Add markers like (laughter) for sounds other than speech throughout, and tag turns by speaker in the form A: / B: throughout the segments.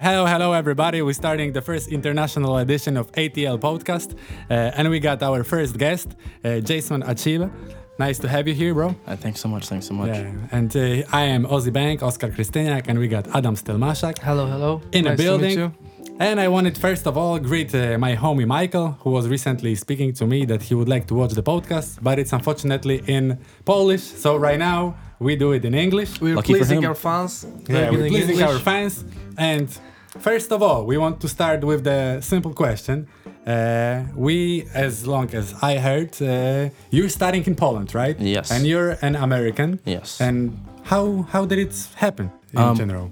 A: Hello, hello, everybody. We're starting the first international edition of ATL podcast, uh, and we got our first guest, uh, Jason Achille. Nice to have you here, bro.
B: Uh, thanks so much. Thanks so much.
A: Yeah, and uh, I am Ozzy Bank, Oscar Kristeniak, and we got Adam Stelmaszak
C: Hello, hello.
A: in
C: Nice
A: a
C: to meet
A: building.
C: you.
A: And I wanted first of all greet uh, my homie Michael, who was recently speaking to me that he would like to watch the podcast, but it's unfortunately in Polish. So right now we do it in English.
C: We're
B: Lucky for
C: pleasing
B: him.
C: our fans.
A: Yeah, we're
C: Learning
A: pleasing our
C: English.
A: fans. And first of all, we want to start with the simple question. Uh, we, as long as I heard, uh, you're studying in Poland, right?
B: Yes.
A: And you're an American.
B: Yes. Um,
A: And how how did it happen in general?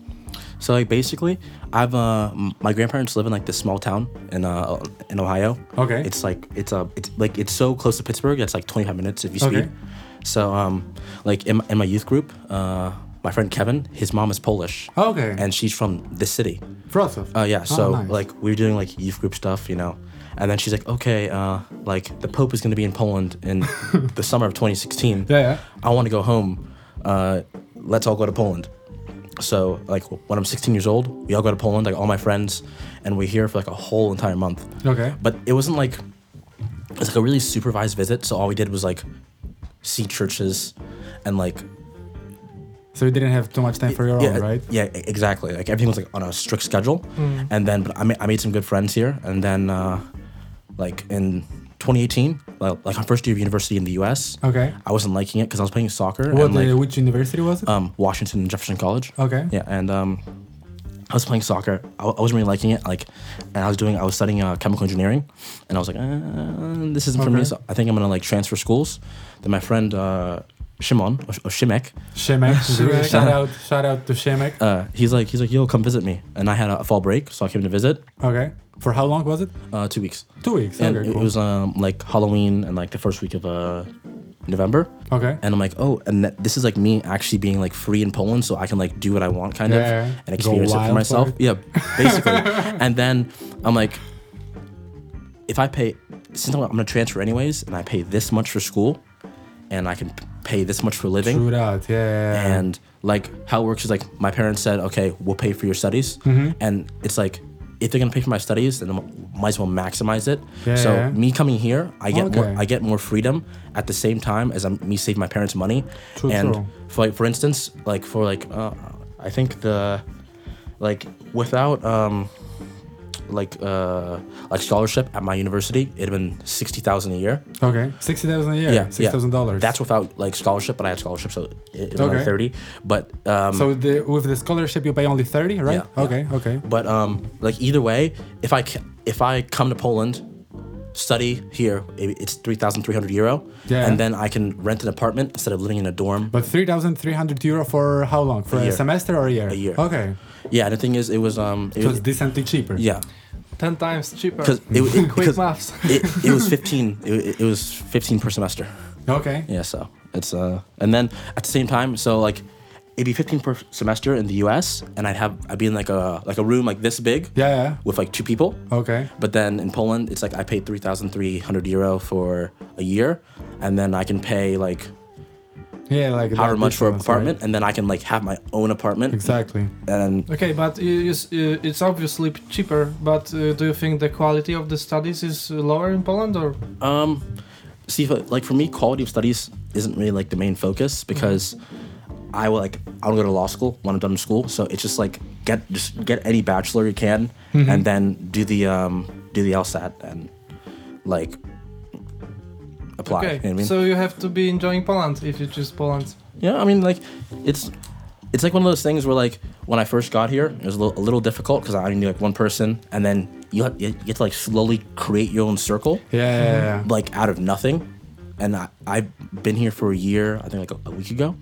B: So like basically, I've uh m- my grandparents live in like this small town in uh in Ohio.
A: Okay.
B: It's like it's uh it's like it's so close to Pittsburgh. It's like 25 minutes if you speed.
A: Okay.
B: So um like in, in my youth group, uh my friend Kevin, his mom is Polish.
A: Oh, Okay.
B: And she's from this city.
A: Wrocław.
B: Uh, yeah. So
A: Oh, nice.
B: like we were doing like youth group stuff, you know. And then she's like, okay, uh, like the Pope is gonna be in Poland in
A: (laughs)
B: the summer of 2016.
A: Yeah, yeah.
B: I want to go home. Uh, let's all go to Poland. So like when I'm 16 years old, we all go to Poland, like all my friends, and we're here for like a whole entire month.
A: Okay.
B: But it wasn't like it was like a really supervised visit. So all we did was like see churches and like
A: So you didn't have too much time for your
B: yeah,
A: own, right? Mm.
B: Yeah, e- exactly. Like everything was like on a strict schedule, and then but I made, I made some good friends here, and then uh, like in 2018, like, like my first year of university in the U.S.
A: Okay.
B: I wasn't liking it because I was playing soccer.
A: What,
B: and, like,
A: uh, which university was it?
B: um, Washington and Jefferson College.
A: Okay.
B: Yeah, and um, I was playing soccer. I, I wasn't really liking it. Like, and I was doing, I was studying uh, chemical engineering, and I was like, uh, this isn't for
A: Okay.
B: me. So I think I'm gonna like transfer schools. Then my friend uh, Shimon or, or Shimek, (laughs)
A: Shemek.
C: Shemek.
A: Shout out, shout out to Shemek.
B: uh, he's like, he's like, yo, come visit me. And I had a, fall break, so I came to visit.
A: Okay. For how long was it?
B: Uh, two weeks.
A: Two weeks.
B: And
A: okay.
B: it
A: cool.
B: was um like Halloween and like the first week of uh November.
A: okay.
B: And I'm like, oh, and that, this is like me actually being like free in Poland, so I can like do what I want, kind
A: Yeah, yeah.
B: of,
A: Go
B: and experience it
A: wild
B: for
A: for
B: myself.
A: it.
B: Yeah,
A: (laughs)
B: basically. and then I'm like, if I pay, since I'm, I'm gonna transfer anyways, and I pay this much for school, and I can p- pay this much for living,
A: True that. Yeah.
B: and like how it works is like my parents said, okay, we'll pay for your studies,
A: Mm-hmm.
B: and it's like if they're gonna pay for my studies, then I might as well maximize it.
A: Yeah,
B: so
A: yeah.
B: me coming here, I get
A: Okay.
B: more, I get more freedom at the same time as I'm me save my parents money.
A: True,
B: and
A: true.
B: for like for instance, like for like uh, I think the like without um like uh like scholarship at my university, it'd have been sixty thousand a year.
A: Okay, sixty thousand a year.
B: Yeah,
A: six thousand dollars.
B: That's without like scholarship, but I had scholarship, so it, it
A: Okay.
B: okay. thirty. But um,
A: so the, with the scholarship you pay only thirty, right?
B: Yeah,
A: okay, okay.
B: But um, like either way, if I ca- if I come to Poland, study here, i- it's three thousand three hundred euro,
A: Yeah.
B: and then I can rent an apartment instead of living in a dorm.
A: But three thousand three hundred euro for how long? For a,
B: year.
A: semester or a year? A
B: year.
A: Okay,
B: yeah, and the thing is, it was um, it
A: so it's
B: was,
A: decently cheaper.
B: yeah,
C: Ten times cheaper.
B: because it, it,
C: (laughs)
B: (laughs)
C: Quick
B: 'cause
C: maths.
B: it, it
C: (laughs)
B: was fifteen, it, it was fifteen per semester.
A: Okay.
B: Yeah, so it's uh, and then at the same time, so like. It'd be 15 per semester in the U.S. and I'd have I'd be in like a like a room like this big
A: Yeah.
B: with like two people.
A: yeah. Okay.
B: But then in Poland, it's like I paid 3,300 euro for a year, and then I can pay like
A: Yeah, like that
B: however much for
A: difference,
B: an
A: right?
B: apartment, and then I can like have my own apartment.
A: Exactly.
B: And
C: Okay, but you, you, s- uh, it's obviously p- cheaper. But uh, do you think the quality of the studies is uh, lower in Poland, or
B: um, see, but, like for me, quality of studies isn't really like the main focus because I will like I want to go to law school when I'm done with school. So it's just like get just get any bachelor you can,
C: Mm-hmm.
B: and then do the um do the LSAT and like apply. You
C: okay?
B: know what I mean?
C: So you have to be enjoying Poland if you choose Poland.
B: Yeah, I mean, like, it's it's like one of those things where, like, when I first got here, it was a little, a little difficult because I only knew like one person, and then you have, you get to like slowly create your own circle,
A: Yeah. yeah, yeah.
B: like out of nothing. And I, I've been here for a year, I think like a, a week ago,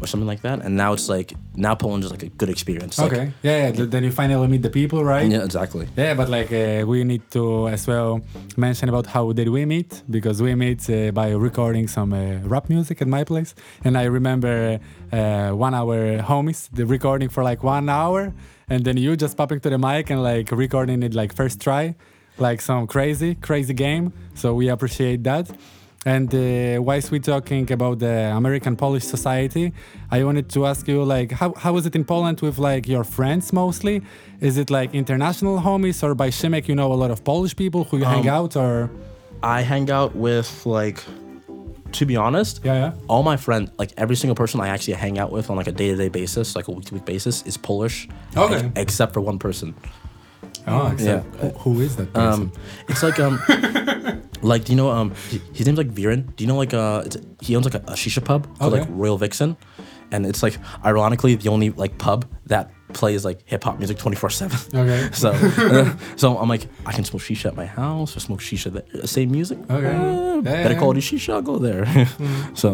B: or something like that. And now it's like now Poland is like a good experience. like-
A: okay. Yeah, yeah. th- Then you finally meet the people, right?
B: yeah, exactly.
A: Yeah, but like uh, we need to as well mention about how did we meet because we met uh, by recording some uh, rap music at my place, and I remember uh, one hour homies the recording for like one hour, and then you just popping to the mic and like recording it like first try, like some crazy crazy game. So we appreciate that. And uh, whilst we're talking about the American Polish society, I wanted to ask you like how, how is it in Poland with like your friends mostly? Is it like international homies or by Shimek you know a lot of Polish people who you hang out or
B: I hang out with like, to be honest,
A: yeah yeah
B: all my friends, like every single person I actually hang out with on like a day to day basis, like a week to week basis, is Polish.
A: Okay.
B: ex- except for one person.
A: oh except
B: Yeah.
A: who, who is that person?
B: Um, it's like
A: (laughs)
B: um, like do you know um, h- his name's like Viren. Do you know like uh, it's, he owns like a, a shisha pub called
A: Okay.
B: like Royal Vixen, and it's like ironically the only like pub that plays like hip hop music twenty four seven. (laughs)
A: Okay.
B: So uh, so (laughs) I'm like I can smoke shisha at my house or smoke shisha there. Same music.
A: Okay.
B: Uh,
A: Yeah. Mm.
B: better quality shisha. I'll go there. (laughs) So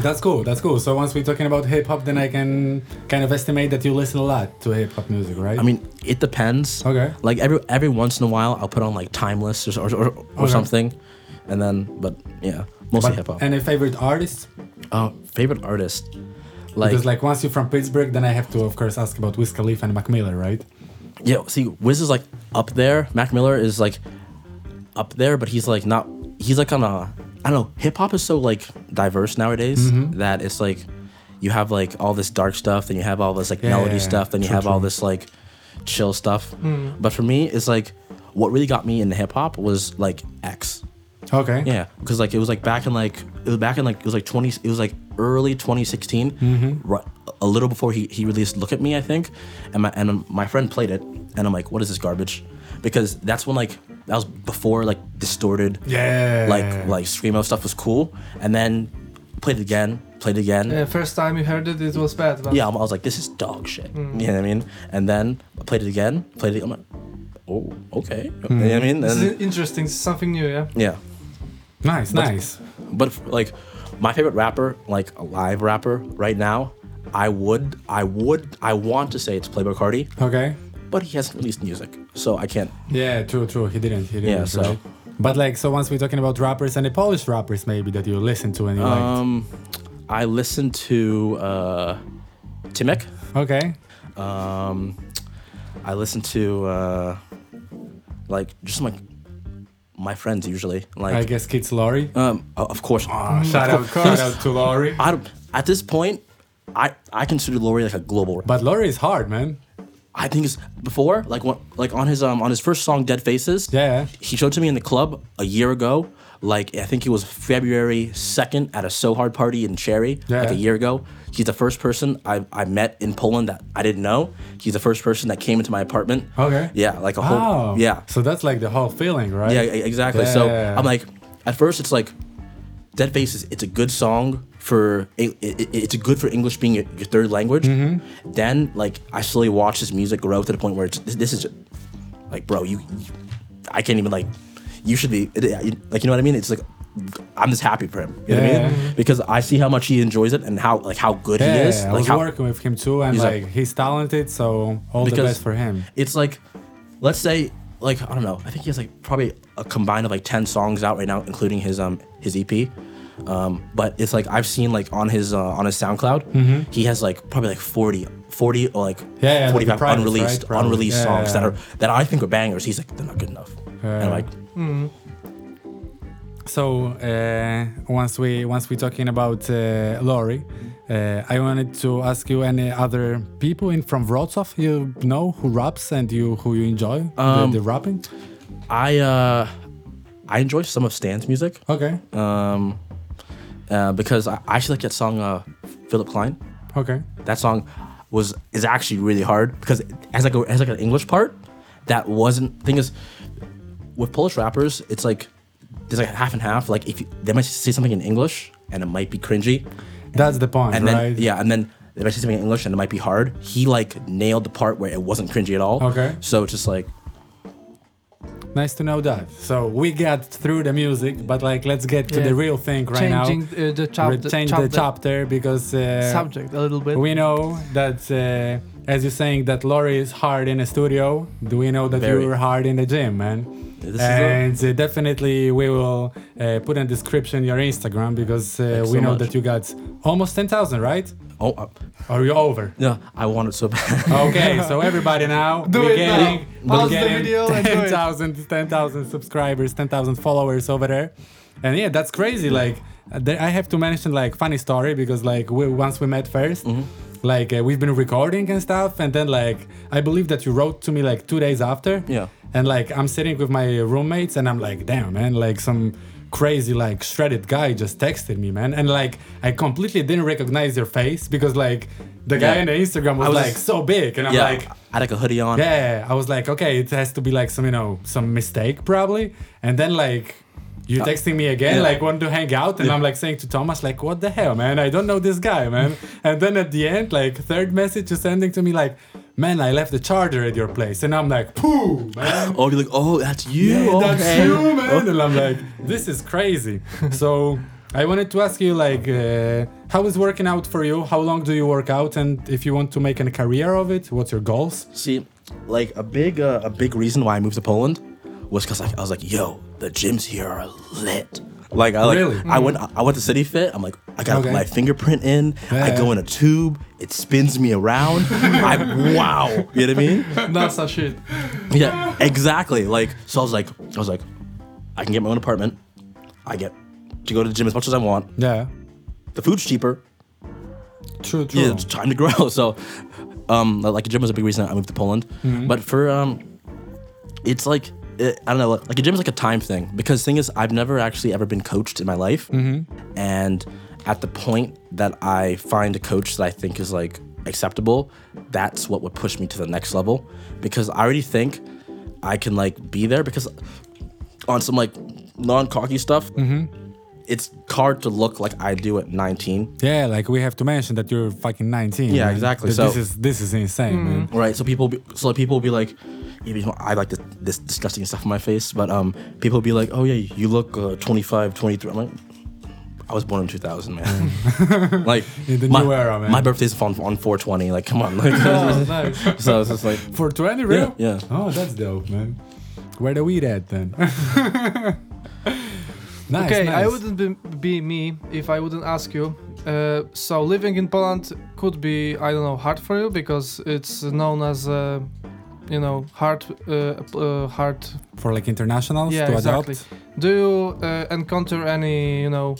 A: That's cool. That's cool. So once we're talking about hip hop, then I can kind of estimate that you listen a lot to hip hop music, right?
B: I mean it depends.
A: Okay.
B: Like every every once in a while I'll put on like Timeless or or, or, or
A: Okay.
B: something, and then but yeah mostly hip hop.
A: Any favorite artists?
B: Uh, favorite artist? Like,
A: because like once you're from Pittsburgh, then I have to of course ask about Wiz Khalifa and Mac Miller, right?
B: yeah, see, Wiz is like up there. Mac Miller is like up there, but he's like not. He's like on a. I don't know. Hip hop is so like diverse nowadays
A: Mm-hmm.
B: that it's like you have like all this dark stuff, then you have all this like
A: Yeah, yeah,
B: melody
A: yeah.
B: stuff, then you
A: True,
B: have all
A: true. Hmm.
B: this like chill stuff. But for me, it's like what really got me into hip hop was like X.
A: Okay.
B: Yeah, because like it was like back in like it was back in like it was like twenty it was like early 2016,
C: Mm-hmm.
B: right, a little before he, he released "Look at Me," I think, and my and my friend played it, and I'm like, what is this garbage? Because that's when like that was before like distorted,
A: Yeah.
B: like like screamo stuff was cool, and then played it again, played it again,
C: Yeah, Uh, first time you heard it, it was bad. But
B: yeah, I'm- I was like, this is dog shit.
C: Mm.
B: You know what I mean? And then I played it again, played it. I'm like, oh, okay. You know what I mean?
C: Mm. This
B: And,
C: is interesting. This is something new, yeah.
B: yeah.
A: nice, nice.
B: But f- like, my favorite rapper, like a live rapper right now, I would, I would, I want to say it's Playboy Cardi,
A: Okay.
B: but he hasn't released music, so I can't.
A: Yeah, true, true. He didn't. He didn't.
B: Yeah, so-
A: right? But like, so once we're talking about rappers and the Polish rappers, maybe that you listen to and you
B: Um, I listened to uh, Timek.
A: liked. Okay.
B: Um, I listen to uh, like just like my friends usually.
A: I Ah.
B: Like,
A: guess Kids Laurie.
B: um, o- of course.
A: (laughs) shout
B: (laughs)
A: out, shout out to Laurie.
B: I don't, at this point, I I consider Lori like a global. But
A: But Laurie is hard, man.
B: I think it's before like what like on his um on his first song Dead Faces.
A: Yeah.
B: He showed it to me in the club a year ago. Like I think it was February second at a So Hard party in Cherry. Like
A: Yeah.
B: a year ago. He's the first person I I met in Poland that I didn't know. He's the first person that came into my apartment.
A: Okay.
B: Yeah, like a whole
A: Wow.
B: yeah.
A: So that's like the whole feeling, right?
B: Yeah, e- exactly. So
A: Yeah.
B: I'm like, at first it's like, Dead Faces. It's a good song for it, it, it's a good for English being your, your third language.
A: Mm-hmm.
B: Then like I slowly watched his music grow to the point where it's this, this is like, bro, you, you- I can't even like, you should be it- you- like, you know what I mean? It's like. I'm just happy for him, you know what I
A: Yeah.
B: mean? Because I see how much he enjoys it and how like how good
A: Yeah,
B: he is.
A: I was
B: like how,
A: working with him too, and
B: He's a-
A: like he's talented, so all the
B: Because-
A: best for him.
B: it's like let's say like I don't know. I think he has like probably a combined of like ten songs out right now, including his um his EP. Um, but it's like I've seen like on his uh, on his SoundCloud, he has like probably like 40, 40 or like
A: Mm-hmm. Yeah, yeah, like the
B: 45
A: Primus,
B: unreleased
A: right? Probably.
B: unreleased
A: Yeah,
B: songs
A: yeah.
B: that are that I think are bangers. He's like they're not good enough. And I'm
A: Yeah.
B: like
A: So uh, once we once we're talking about uh, Lori, uh, I wanted to ask you any other people in from Wrocław you know who raps and you who you enjoy
B: Um,
A: the, the rapping.
B: I uh I enjoy some of Stan's music
A: Okay,
B: um uh, because I, I actually like that song uh Philip Klein.
A: okay,
B: that song was is actually really hard because it has like a, it has like an English part that wasn't thing is with Polish rappers it's like there's like half and half like if you, they might say something in English and it might be cringy
A: that's the point,
B: and then
A: right?
B: yeah and then they might say something in English and it might be hard he like nailed the part where it wasn't cringy at all
A: Okay.
B: so it's just like
A: Nice to know that. So we got through the music, but like let's get to
C: Yeah.
A: the real thing right
C: Changing
A: now.
C: uh, the chapter,
A: Re- change the chapter because uh,
C: subject a little bit.
A: We know that, uh, as you're saying, that Laurie is hard in the studio. Do we know that
B: Very.
A: you're hard in the gym, man?
B: This is a-
A: and uh, definitely, we will uh, put in description your Instagram because uh,
B: Thanks
A: we
B: so
A: know
B: much.
A: that you got almost ten thousand, right?
B: Oh, uh,
A: Are you over?
B: no, I want it so bad.
A: Okay, so everybody now,
C: (laughs) Do
A: we're
C: it now.
A: getting, we're
C: Pause the
A: getting
C: video and do it.
A: 10,000 10,000 subscribers, 10,000 followers over there. And yeah, that's crazy. Like, uh, there, I have to mention like funny story because like we, once we met 1st
B: Mm-hmm.
A: like uh, we've been recording and stuff, and then like I believe that you wrote to me like two days after.
B: Yeah.
A: And like I'm sitting with my roommates, and I'm like, damn, man, like some crazy like shredded guy just texted me, man, and like I completely didn't recognize your face because like the guy
B: Yeah.
A: on the Instagram was,
B: I was
A: like
B: just-
A: so big, and I'm
B: (laughs) yeah,
A: like.
B: I had like a hoodie on.
A: Yeah, I was like, okay, it has to be like some, you know, some mistake probably. And then like you texting me again,
B: Uh, yeah.
A: like want to hang out, and I'm like saying to Thomas, like, what the hell, man? I don't know this guy,
B: (laughs)
A: man. and then at the end, like third message you're sending to me, like, man, I left the charger at your place, and I'm like, poo, man.
B: (laughs) Oh, you're like, oh, that's you.
A: Yeah, that's
B: (laughs) okay.
A: you, man. And I'm like, this is
B: (laughs)
A: crazy. so I wanted to ask you, like, uh, how is working out for you? How long do you work out? And if you want to make a career of it, what's your goals?
B: See, like a big uh, a big reason why I moved to Poland was because like I was like, yo, the gyms here are lit. Like I like
A: Really? Mm.
B: I went I went to City Fit. I'm like I got
A: Okay.
B: my fingerprint in. I
A: Yeah.
B: go in a tube. It spins me around.
A: (laughs)
B: I wow. You know what I mean?
C: NASA shit.
B: Yeah, exactly. Like so I was like I was like I can get my own apartment. I get to go to the gym as much as I want.
A: Yeah.
B: The food's cheaper.
A: True, true.
B: yeah, it's time to grow. (laughs) So, um, like a gym was a big reason I moved to Poland. But for um, it's like it, I don't know, like a gym is like a time thing because thing is I've never actually ever been coached in my life, and at the point that I find a coach that I think is like acceptable, that's what would push me to the next level because I already think I can like be there because on some like non cocky stuff. It's hard to look like I do at 19
A: Yeah, like we have to mention that you're fucking 19.
B: Yeah,
A: man.
B: exactly,
A: Th-
B: so-
A: this is this is insane,
C: Mm-hmm.
A: man.
B: Right. So people, be, so people will be like, you know, I like this, this disgusting stuff on my face, but um, people will be like, oh yeah, you look uh, 25, 23. I'm like, I was born in 2000,
A: (laughs)
B: man. like
A: In the
B: my,
A: new era, man.
B: My birthday's on on 420. Like, come
A: (laughs)
B: on. Like,
C: Oh, nice.
B: (laughs) so it's just like,
A: For 20, real?
B: yeah.
A: Oh, that's dope, man. Where the weed at then? (laughs) nice.
C: okay, I
A: Ah, nice.
C: wouldn't be, be me if I wouldn't ask you. Uh, so living in Poland could be, I don't know, hard for you because it's known as, uh, you know, hard, uh, uh, hard.
A: for like internationals
C: Yeah,
A: to
C: exactly.
A: adopt
C: Do you uh, encounter any, you know,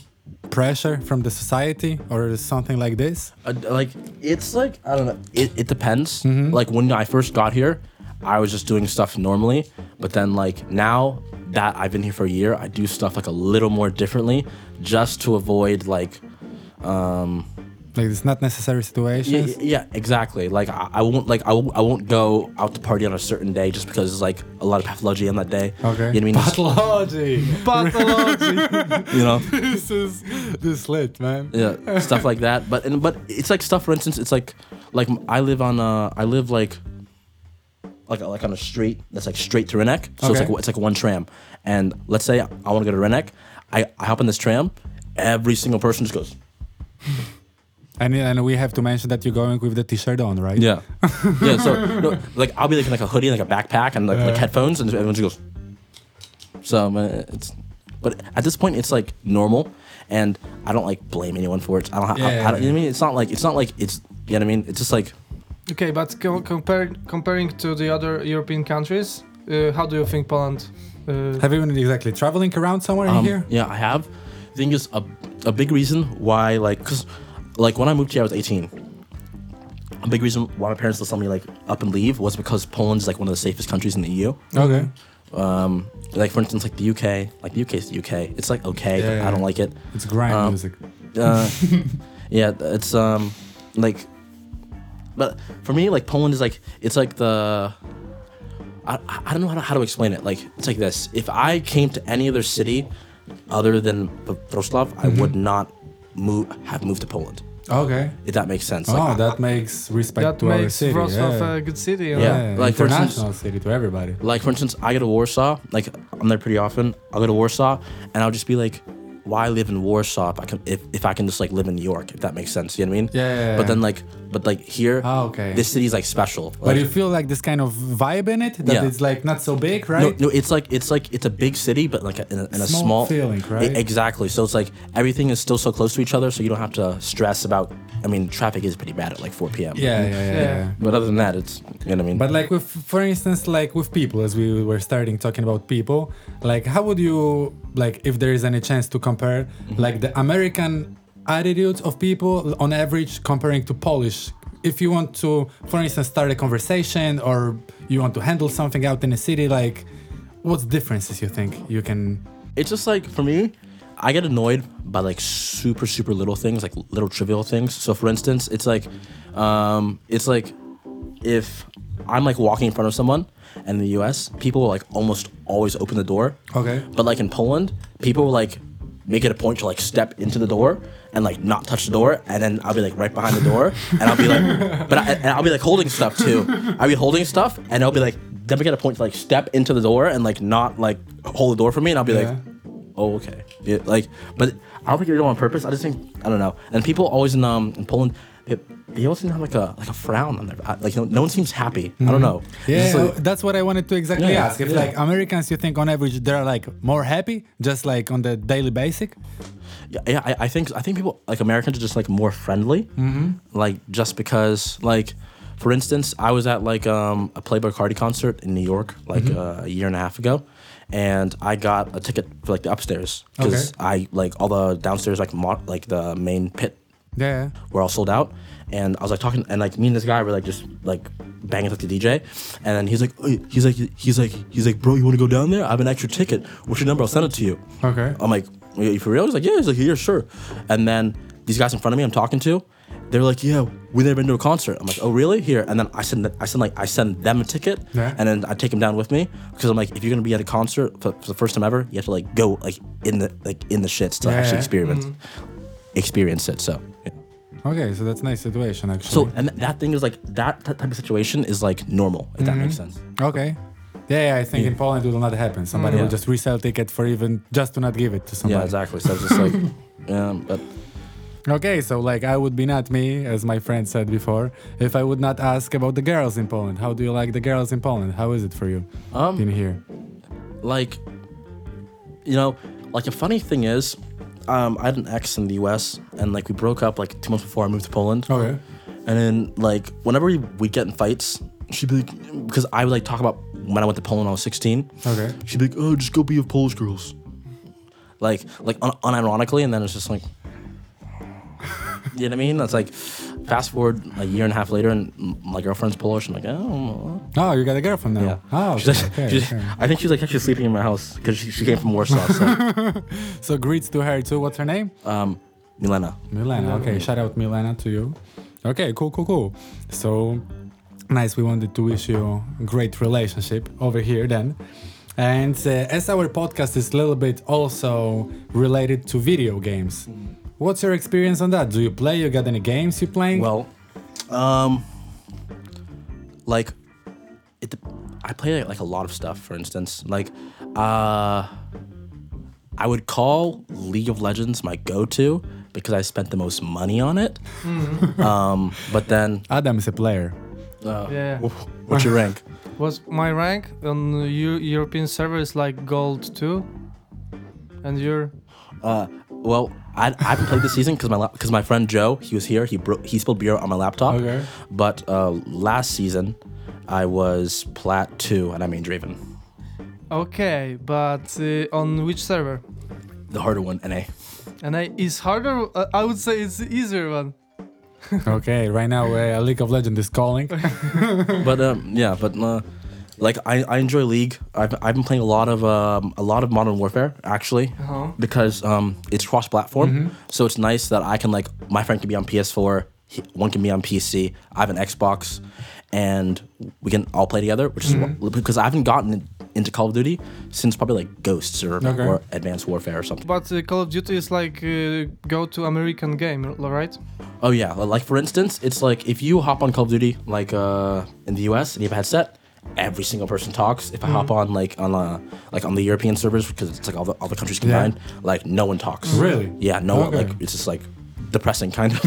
A: pressure from the society or something like this.
B: Uh, like it's like I don't know. It, it depends.
A: Mm-hmm.
B: Like when I first got here, I was just doing stuff normally, but then like now that I've been here for a year, I do stuff like a little more differently, just to avoid like, um,
A: Like it's not necessary
B: yeah,
A: situations.
B: yeah, exactly. Like I, I won't like I, won't- I won't go out to party on a certain day just because it's like a lot of pathology on that day.
A: Okay.
B: you know what I mean? Just-
A: Pathology.
C: pathology?
B: you know,
A: (laughs) this is this lit, man.
B: yeah, stuff like that. But and but it's like stuff. For instance, it's like like I live on uh I live like like like on a street that's like straight to Renneck. So it's
A: Okay.
B: like it's like one tram. And let's say I want to go to Renneck, I, I hop in this tram. Every single person just goes.
A: And and we have to mention that you're going with the t-shirt on, right?
B: Yeah, yeah. So no, like I'll be like in like a hoodie, and like a backpack, and like, like
A: Yeah.
B: headphones, and everyone just goes. So uh, it's, but at this point, it's like normal, and I don't like blame anyone for it. I don't. I,
A: Yeah.
B: I don't you know what I mean? It's not like it's not like it's. You know what I mean? It's just like
C: okay, but co- compare, comparing to the other European countries, uh, how do you think Poland? Uh,
A: Have you been exactly traveling around somewhere in
B: Um,
A: here?
B: Yeah, I have. The thing is, a, a big reason why, like, because, like, when I moved here, I was 18. A big reason why my parents let me, like, up and leave was because Poland's, like, one of the safest countries in the E EU.
A: Okay.
B: Um, like, for instance, like, the UK, like, the UK is the UK. It's, like, okay.
A: Yeah, yeah.
B: I don't like
A: (laughs)
B: it.
A: It's grind
B: Um,
A: music.
B: Uh, yeah, it's, um, like, but for me, like, Poland is, like, it's, like, the. I, I I don't know how to, how to explain it. Like it's like this. If I came to any other city other than P- Wrocław, I
A: Mm-hmm.
B: would not move have moved to Poland.
A: Okay.
B: If that makes sense.
A: oh,
B: Like, I-
A: that makes respect
C: that
A: to our
C: makes
A: city.
C: Wrocław
A: yeah.
C: a good city. you know?
A: yeah.
B: Yeah, like, for
A: international
B: instance-
A: city to everybody.
B: like for instance, I go to Warsaw. Like I'm there pretty often. I'll go to Warsaw, and I'll just be like, "Why live in Warsaw if I can if, if I can just like live in New York? If that makes sense, you know what I mean?
A: Yeah, yeah, yeah.
B: But then like But like here,
A: Ah, okay.
B: this city's like special.
A: But
B: Like,
A: you feel like this kind of vibe in it that
B: Yeah.
A: it's like not so big,
B: no,
A: right?
B: no, it's like it's like it's a big city, but like a, in a, in a
A: Small
B: small
A: feeling,
B: e-
A: right?
B: exactly. So it's like everything is still so close to each other, so you don't have to stress about. I mean, traffic is pretty bad at like 4 p.m.
A: Yeah, yeah, yeah,
C: Yeah.
A: yeah.
B: But other than that, it's you know what I mean.
A: But like with, for instance, like with people, as we were starting talking about people, like how would you like if there is any chance to compare like the American attitudes of people on average comparing to Polish? If you want to, for instance, start a conversation or you want to handle something out in a city, like what's differences you think you can?
B: it's just like for me i get annoyed by like super super little things like little trivial things so for instance it's like um it's like if i'm like walking in front of someone in the us people will like almost always open the door
A: Okay.
B: but like in poland people will like make it a point to like step into the door and like not touch the door and then i'll be like right behind the door and i'll be
A: (laughs)
B: like but I, and i'll be like holding stuff too i'll be holding stuff and i'll be like then we get a point to like step into the door and like not like hold the door for me and i'll be like
A: Yeah.
B: oh okay Yeah, like but i don't think you're doing it on purpose i just think i don't know and people always in um in poland they, they always seem to have like a like a frown on their like no, no one seems happy i don't know It's
A: Mm-hmm. Yeah,
B: just like-
A: that's what I wanted to exactly
B: Yeah,
A: ask. If
B: yeah.
A: like Americans, you think on average they're like more happy, just like on the daily basic.
B: Yeah, yeah I, I think I think people like Americans are just like more friendly. Mm-hmm. Like just because like for instance, I was at like um, a Playboy Cardi concert in New York like uh, a year and a half ago, and I got a ticket for like the upstairs because I like all the downstairs like mo- like the main pit
A: Yeah.
B: were all sold out. And I was like talking, and like me and this guy were like just like banging with the DJ, and then he's like, "Hey," he's like, he's like, he's like, bro, you want to go down there? I have an extra ticket. What's your number? I'll send it to you.
A: Okay.
B: I'm like, "Are you for real? He's like, yeah. He's like, yeah, sure. And then these guys in front of me, I'm talking to, they're like, yeah, we never been to a concert. I'm like, oh really? Here. And then I send, the- I send like, I send them a ticket,
A: Yeah.
B: and then I take them down with me because I'm like, if you're gonna be at a concert for, for the first time ever, you have to like go like in the like in the shits to
A: Yeah,
B: actually
A: yeah. Mm-hmm.
B: experience experience it. So. yeah.
A: Okay, so that's nice situation actually.
B: So and th- that thing is like that t- type of situation is like normal if that makes sense.
A: Okay. Yeah, yeah I think in Poland it will not happen. Somebody will
B: Mm.
A: just
B: Yeah.
A: resell ticket for even just to not give it to somebody.
B: Yeah, exactly. So it's just (laughs) like, um, but
A: Okay, so like I would be not me, as my friend said before, if I would not ask about the girls in Poland. How do you like the girls in Poland? How is it for you
B: um,
A: in here?
B: like, you know, like a funny thing is, um, I had an ex in the U.S. and like we broke up like two months before I moved to Poland.
A: Okay.
B: And then like whenever we would get in fights, she'd be like, because I would like talk about when I went to Poland when I was 16.
A: Okay.
B: She'd be like, oh, just go be with Polish girls. Like, like un- unironically, and then it's just like, you know what I mean? That's like, fast forward a year and a half later, and m- my girlfriend's Polish. I'm like, oh,
A: Oh, you got a girlfriend now.
B: yeah.
A: Oh,
B: (laughs) She's
A: okay,
B: like-
A: okay,
B: she's-
A: okay.
B: I think she's like actually sleeping in my house because she, she came from Warsaw.
A: (laughs)
B: So,
A: So greets to her too. What's her name?
B: um, Milena.
A: Milena. Okay, shout out Milena to you. Okay, cool, cool, cool. So nice. We wanted to wish you a great relationship over here then. And uh, as our podcast is a little bit also related to video games, what's your experience on that? Do you play? You got any games you playing?
B: Well, um, like, it, dep- I play like, a lot of stuff. For instance, like, uh, I would call League of Legends my go-to because I spent the most money on it. um, but then,
A: Adam is a player.
B: uh,
C: Yeah.
B: wh- what's your rank?
C: What's my rank on the Eu- European server is like gold two, and you're
B: Uh, well, I, I haven't played this season because my because my friend Joe he was here he bro- he spilled beer on my laptop.
A: Okay.
B: But uh, last season, I was plat two, and I mean Draven,
C: okay, but uh, on which server?
B: the harder one, NA.
C: And I is harder. Uh, I would say it's the easier one.
A: okay, right now uh, League of Legends is
B: (laughs)
A: calling.
B: but um, yeah, but uh, like I, I enjoy League. I've, I've been playing a lot of um, a lot of Modern Warfare actually
C: Uh-huh.
B: because um, it's cross platform. So it's nice that I can like my friend can be on PS4, he, one can be on PC. I have an Xbox, and we can all play together. Which is wh- because I haven't gotten in- into Call of Duty since probably like Ghosts or,
A: Okay.
B: or Advanced Warfare or something.
C: But uh, Call of Duty is like uh, go to American game, l- right?
B: Oh yeah, like for instance, it's like if you hop on Call of Duty like uh in the US and you have a headset, every single person talks. If I hop
A: Mm.
B: on like on uh like on the European servers because it's like all the all the countries
A: Yeah.
B: combined, like no one talks.
A: Really?
B: Yeah, no one
A: Okay.
B: like it's just like depressing, kind
A: (laughs)
B: of.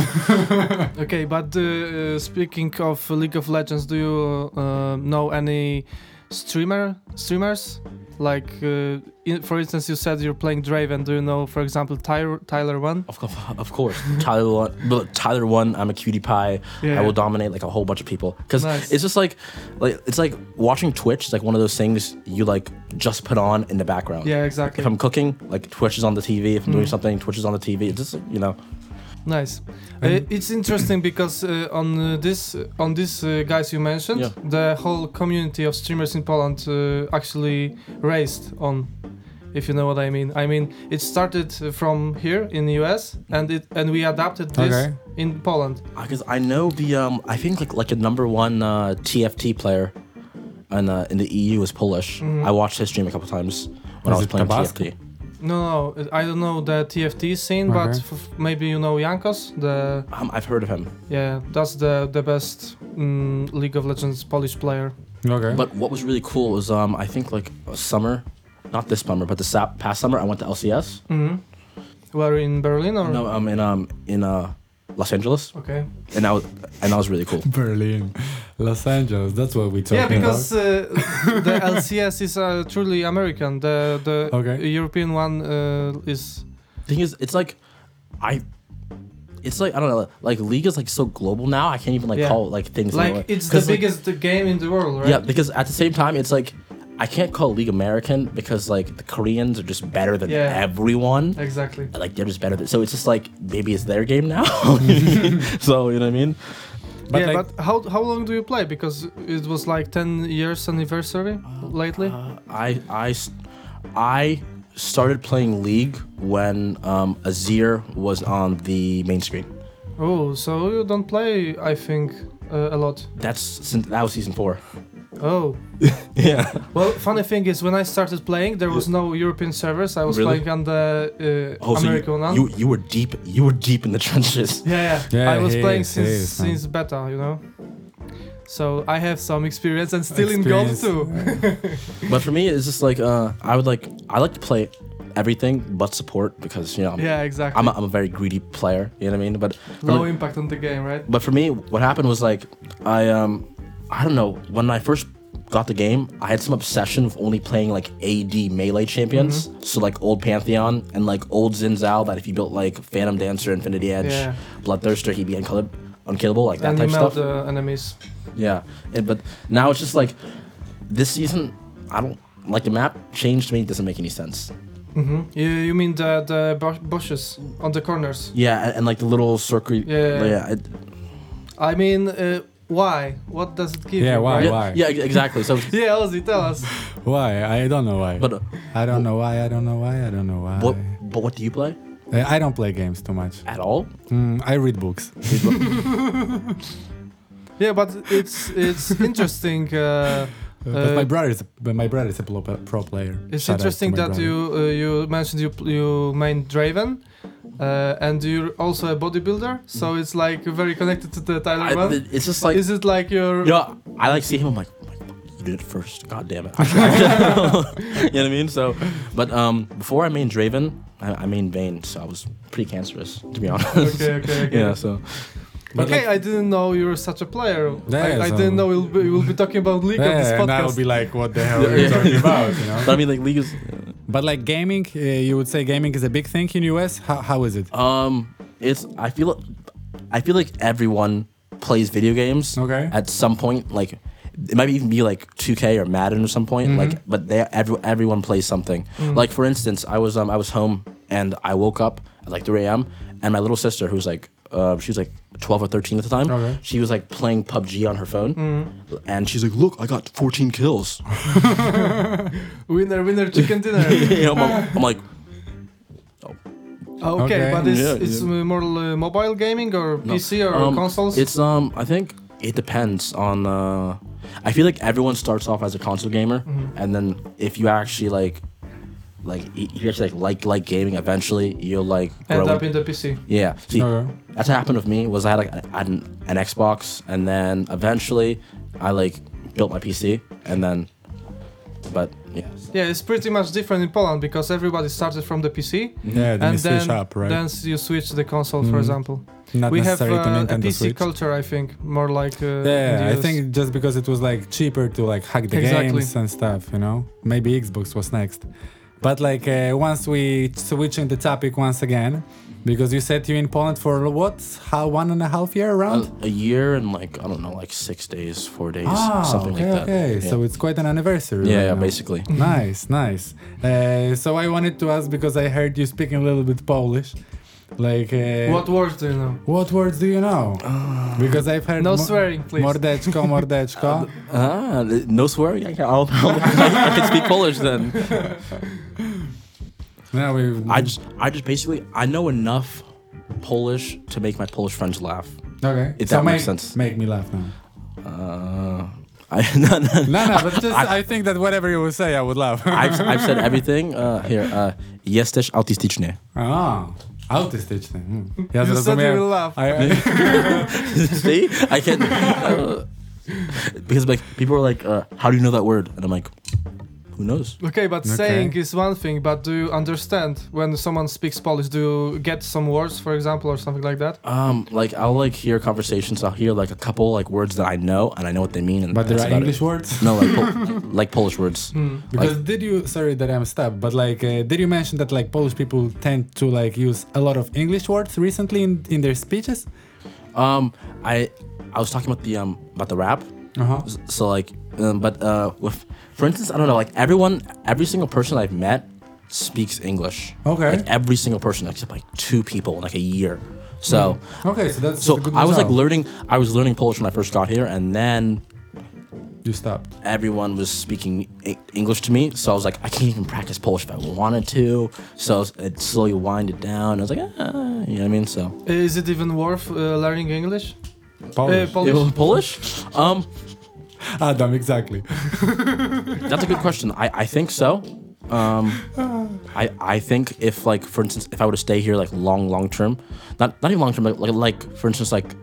C: Okay, but uh, uh, speaking of League of Legends, do you uh, know any streamer streamers? Like, uh, in, for instance, you said you're playing Draven. Do you know, for example, Tyler Tyler One?
B: of, course, of course, Tyler one, but Tyler one. I'm a cutie pie. I will dominate like a whole bunch of people because
C: Nice.
B: it's just like, like it's like watching Twitch. It's like one of those things you like just put on in the background.
C: Yeah,
B: If
C: exactly.
B: I'm cooking, like Twitch is on the TV. If I'm doing
C: Mm.
B: something, Twitch is on the TV. It's just you know,
C: Nice. Uh,
A: And-
C: it's interesting because uh, on uh, this on these uh, guys you mentioned,
B: Yeah.
C: the whole community of streamers in Poland uh, actually raised on. If you know what I mean. I mean, it started uh, from here in the US, and it and we adapted this
A: Okay.
C: in Poland.
B: because I know the um, I think like like a number one uh, TFT player, in uh, in the EU is Polish.
C: Mhm.
B: I watched his stream a couple times when I
A: Is
B: was
A: it
B: playing
A: Tabasco?
B: TFT.
C: No, no, I don't know the TFT scene, but
A: Okay.
C: f- maybe you know Jankos. The
B: Um, I've heard of him.
C: yeah, that's the the best mm, League of Legends Polish player.
A: Okay.
B: But what was really cool was um, I think like a summer, not this summer, but the sa- past summer I went to LCS.
C: hmm Were you in Berlin or
B: No, I'm in um in uh Los Angeles,
C: Okay.
B: and that was and that was really cool.
A: Berlin, Los Angeles. That's what we talking
C: Yeah,
A: about.
C: because uh, the LCS is uh, truly American. The the
A: Okay.
C: European one uh, is
B: Thing is, it's like I, it's like I don't know, like League is like so global now. I can't even like
C: Yeah.
B: call like things in a way.
C: like it's the
B: 'Cause, like,
C: biggest game in the world, right?
B: Yeah, because at the same time, it's like I can't call League American because like the Koreans are just better than
C: Yeah.
B: everyone.
C: Exactly.
B: Like they're just better than. So it's just like maybe it's their game
C: (laughs)
B: now. so you know what I mean?
A: But
C: yeah,
A: like-
C: but how how long do you play? Because it was like ten years anniversary lately.
B: Uh, I I s- I started playing League when um, Azir was on the main screen.
C: oh, so you don't play? I think uh, a lot.
B: That's since that was season four.
C: Oh,
B: Yeah.
C: well, funny thing is when I started playing, there was no European servers. I was
B: Really?
C: playing on the uh,
B: Oh, so
C: American
B: you,
C: one.
B: you you were deep you were deep in the (laughs) trenches.
C: Yeah, yeah.
A: Yeah,
C: I was
A: he
C: playing
A: is, he
C: since
A: is, man.
C: since beta, you know. So I have some experience and still
A: Experience.
C: in gold too.
B: But for me, it's just like uh, I would like I like to play everything but support because you know I'm,
C: (laughs) yeah, exactly.
B: I'm, a, I'm a very greedy player. You know what I mean? But
C: Low impact on the game, right?
B: but for me, what happened was like I um I don't know when I first got the game, I had some obsession with only playing like AD melee champions,
C: Mm-hmm.
B: so like old Pantheon and like old Xin Zhao. That if you built like Phantom Dancer, Infinity Edge,
C: Yeah.
B: Bloodthirster, he'd be unkillable, unkillable like that
C: And you
B: type
C: melt
B: stuff.
C: the enemies.
B: Yeah, and, but now it's just like this season. I don't like the map change to me. Doesn't make any sense.
C: hmm You, you mean the the bu- bushes on the corners?
B: Yeah, and, and like the little circle.
C: Yeah.
B: yeah, it,
C: I mean, uh, why? What does it give?
A: Yeah,
C: you,
A: why,
C: right?
B: yeah,
A: why?
B: yeah, ex- exactly. So,
C: (laughs)
B: (laughs)
C: Yeah, Ozzy, tell us.
A: why? I don't know why.
B: but uh,
A: I don't know why. I don't know why. I don't know why.
B: what? But what do you play
A: Uh, I don't play games too much.
B: at all?
C: (laughs)
A: Mm, I read books.
C: Uh, Yeah, but it's
A: (laughs)
C: it's interesting. Uh,
A: but
C: Uh,
A: my brother is but my brother is a pro, pro player.
C: It's
A: Shout out to
C: interesting
A: my
C: that
A: brother.
C: you uh, you mentioned you you main Draven, uh, and you're also a bodybuilder, so
A: Mm.
C: it's like very connected to the Tyler
B: I,
C: one.
B: th- it's just like
C: Is it like your?
B: you know, I like see him. I'm like, I'm like, you did it first. God damn
C: (laughs)
B: it. (laughs) you know what I mean? So, but um, before I made Draven, I, I made Vayne, so I was pretty cancerous to be honest.
C: Okay, okay, okay.
B: (laughs) yeah. So
A: But
C: okay,
A: like-
C: I didn't know you were such a player.
A: Yeah,
C: I, I
A: so-
C: didn't know we'll be, we'll be talking about League
A: yeah,
C: on this
A: and I'll
C: podcast.
A: be like, what the
C: (laughs)
A: hell are
B: Yeah.
A: you talking about? You know.
B: but I mean, like, League is.
A: But like gaming, uh, you would say gaming is a big thing in US. How, how is it? Uh,
B: Um, it's I feel I feel like everyone plays video games.
A: Okay.
B: At some point, like it might even be like 2K or Madden or some point.
A: Mm-hmm.
B: Like, but they every, everyone plays something.
A: Mm.
B: Like for instance, I was um I was home and I woke up at like 3 a.m. and my little sister who's like uh, she was like 12 or 13 at the time.
A: Okay. Mm.
B: She was like playing PUBG on her phone, and she's like, "Look, I got 14 kills." (laughs)
C: Winner, winner, chicken
A: (laughs)
C: dinner.
B: You know, I'm, I'm like,
C: okay,
A: Okay.
C: but it's
B: Yeah,
C: it's uh, more uh, mobile gaming or PC or
B: Um,
C: consoles.
B: It's um, I think it depends on. Uh, I feel like everyone starts off as a console gamer,
A: Mm-hmm.
B: and then if you actually like, like y- you actually like like like gaming, eventually you'll like grow.
C: end up
B: it.
C: in the PC.
B: yeah, see,
A: Okay.
B: that's what happened with me. Was I had like I had an, an Xbox, and then eventually I like built my PC, and then But yeah,
C: Yeah, it's pretty much different in Poland because everybody started from the PC
A: Yeah, then
C: and
A: you
C: then,
A: switch up, right?
C: then you switch the console, for
A: Mhm.
C: example.
A: Not
C: we have
A: necessary to
C: uh, a
A: Nintendo
C: PC
A: Switch.
C: culture, I think, more like. Uh, in
A: yeah,
C: the
A: I
C: US.
A: think just because it was like cheaper to like hack the
C: Exactly.
A: games and stuff, you know. Maybe Xbox was next, but like uh, once we switching the topic once again, because you said you in Poland for what? How one and a half year around?
B: a, a year and like I don't know, like six days, four days,
A: Ah,
B: something
A: okay,
B: like that.
A: okay.
B: Yeah.
A: So it's quite an anniversary.
B: yeah,
A: right
B: yeah,
A: now.
B: basically.
A: nice, nice. Uh, so I wanted to ask because I heard you speaking a little bit Polish, like uh,
C: What words do you know?
A: What words do you know? Because I've heard
C: No
A: mo-
C: swearing, please. Uh,
A: Mordeczko,
C: (laughs)
A: mordeczko.
B: Ah, th- no swearing. I can, I'll, (laughs) I can speak Polish then.
A: no, we.
B: (laughs) I just, I just basically, I know enough Polish to make my Polish friends laugh.
A: okay.
B: If
A: so
B: that
A: make,
B: makes sense.
A: Make me laugh now.
B: Uh, I, (laughs) no, no,
A: No, no,
B: (laughs)
A: but just I, think that whatever you will say, I would laugh. (laughs)
B: I've, I've said everything. Uh, here, uh, jesteś autystyczny.
A: oh, autystyczny. Mm. Ja
C: you said you
A: zrozumiałem.
C: will
B: (laughs)
C: laugh.
A: I, I,
B: (laughs) See, I can. Uh, because like people are like, uh, how do you know that word? And I'm like, who knows?
C: Okay, but
A: Okay.
C: saying is one thing, but do you understand when someone speaks Polish? Do you get some words, for example, or something like that?
B: Um, like I'll like hear conversations. I'll hear like a couple like words that I know and I know what they mean. And
A: but there
B: that's
A: are
B: about
A: English
B: it.
A: words.
B: No, like
A: (laughs)
B: Pol- like Polish words.
A: Because did you? Sorry that I'm stopped, but like, uh, did you mention that like Polish people tend to like use a lot of English words recently in, in their speeches?
B: Um, I I was talking about the um about the rap.
A: Uh huh.
B: S- So like, um, but uh, with for instance, I don't know. Like everyone, every single person I've met speaks English.
A: Okay.
B: Like every single person except like two people in like a year. So
A: Okay, so that's
B: so
A: a good
B: I was like
A: result.
B: learning. I was learning Polish when I first got here, and then
A: you stopped.
B: everyone was speaking E- English to me. So I was like, I can't even practice Polish if I wanted to. So it slowly winded down. I was like, ah, you know what I mean? So.
C: Is it even worth uh, learning English?
B: Eh,
A: Polish.
C: Uh, Polish.
B: Ew, Polish? Um,
A: Adam, exactly.
B: that's a good question. I, I think so. Um, I I think if like for instance, if I were to stay here like long long term, not not even long term, but like like for instance like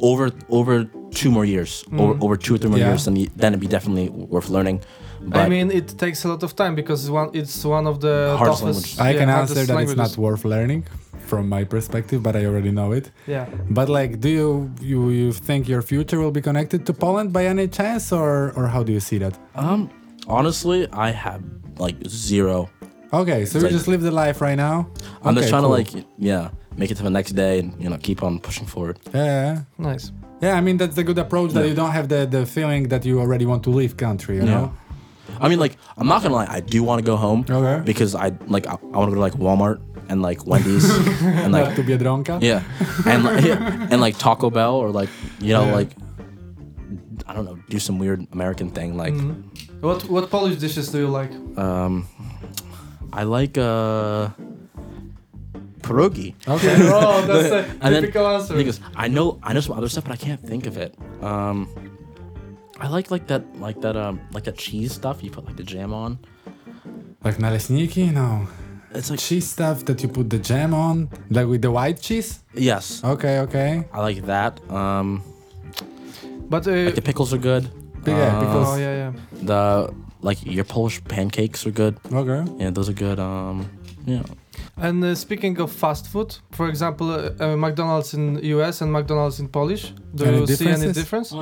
B: over over two more years, over over two or three more
A: Yeah.
B: years, then y- then it'd be definitely worth learning. But
C: I mean, it takes a lot of time because one, it's one of the
B: Hardest
C: toughest.
B: languages.
A: I
C: yeah,
A: can
C: hardest
A: answer that it's
C: languages.
A: not worth learning from my perspective, but I already know it.
C: Yeah.
A: But like, do you you, you think your future will be connected to Poland by any chance, or or how do you see that?
B: um, honestly, I have like zero.
A: Okay, so you
B: like-
A: just live the life right now.
B: I'm
A: Okay,
B: just trying
A: cool.
B: to like yeah, make it to the next day and you know keep on pushing forward.
A: yeah,
C: Nice.
A: yeah. I mean, that's the good approach that
B: Yeah.
A: you don't have the the feeling that you already want to leave country. You know.
B: I mean, like, I'm not gonna lie. I do want to go home
A: Okay.
B: because I like I, I want to go to like Walmart and like Wendy's and
A: (laughs)
B: like
A: To be a dronka.
B: yeah, and like, yeah, and like Taco Bell or like you know
A: Yeah.
B: like I don't know, do some weird American thing like
C: What what Polish dishes do you like?
A: (laughs)
B: um, I like uh, pierogi.
A: Okay.
C: oh, that's a
B: And then
C: typical
B: The
C: answer.
B: thing is, I know I know some other stuff, but I can't think of it. Um, I like like that like that um like that cheese stuff you put like the jam on.
A: like naleśniki, no.
B: It's like
A: Cheese stuff that you put the jam on, like with the white cheese.
B: yes.
A: Okay, okay.
B: I like that. Um,
C: but uh,
B: the pickles are good.
A: Yeah,
B: Uh,
A: pickles.
C: oh yeah, yeah.
B: The like your Polish pancakes are good.
A: Okay.
B: Yeah, those are good. Um, yeah.
C: And uh, speaking of fast food, for example, uh, uh, McDonald's in US and McDonald's in Polish, do
A: Any
C: you see any
A: differences?
C: difference?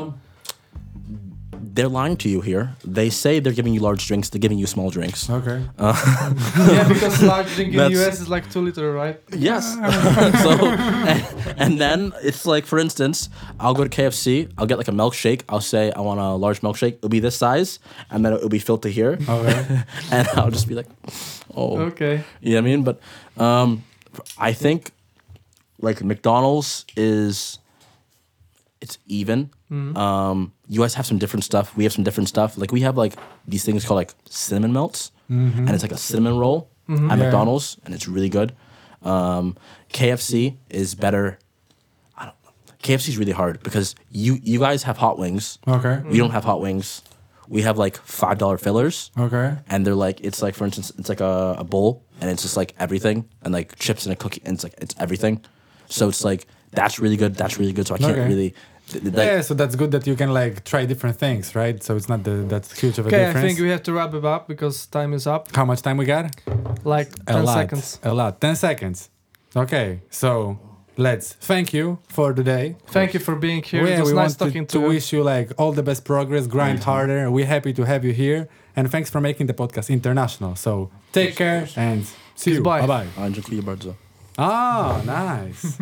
B: They're lying to you here. They say they're giving you large drinks. They're giving you small drinks.
A: Okay.
C: (laughs) yeah, because large drink in
B: That's-
C: US is like two liter, right?
B: Yes. (laughs) so, (laughs) and, and then it's like, for instance, I'll go to KFC. I'll get like a milkshake. I'll say I want a large milkshake. It'll be this size, and then it'll be filled to here. (laughs)
A: Okay.
B: And I'll just be like, oh.
C: Okay.
B: You know what I mean? But um, I think like McDonald's is it's even.
A: Mm-hmm.
B: Um, you guys have some different stuff. We have some different stuff. Like we have like these things called like cinnamon melts, and it's like a cinnamon roll at
A: Mm-hmm. Yeah.
B: McDonald's, and it's really good. Um, KFC is better. I don't know. KFC is really hard because you you guys have hot wings.
A: Okay.
B: We don't have hot wings. We have like five dollar fillers
A: Okay.
B: and they're like it's like for instance it's like a, a bowl and it's just like everything and like chips and a cookie and it's like it's everything so it's like that's really good that's really good so i can't
A: Okay.
B: really Th- th- like-
A: yeah, so that's good that you can like try different things, right? So it's not the, that huge of a
C: Okay, I
A: difference.
C: think we have to wrap it up because time is up.
A: How much time we got?
C: Like
A: A
C: 10
A: lot.
C: seconds.
A: A lot. 10 seconds. Okay, so let's thank you for today.
C: Thank you for being here.
A: Yeah,
C: it was
A: we
C: nice
A: want
C: talking
A: to,
C: to, you.
A: wish you like all the best progress, grind harder. We're happy to have you here. And thanks for making the podcast international. So take care and see you.
C: Goodbye.
A: Bye bye.
B: A, dziękuję bardzo.
A: Oh, nice.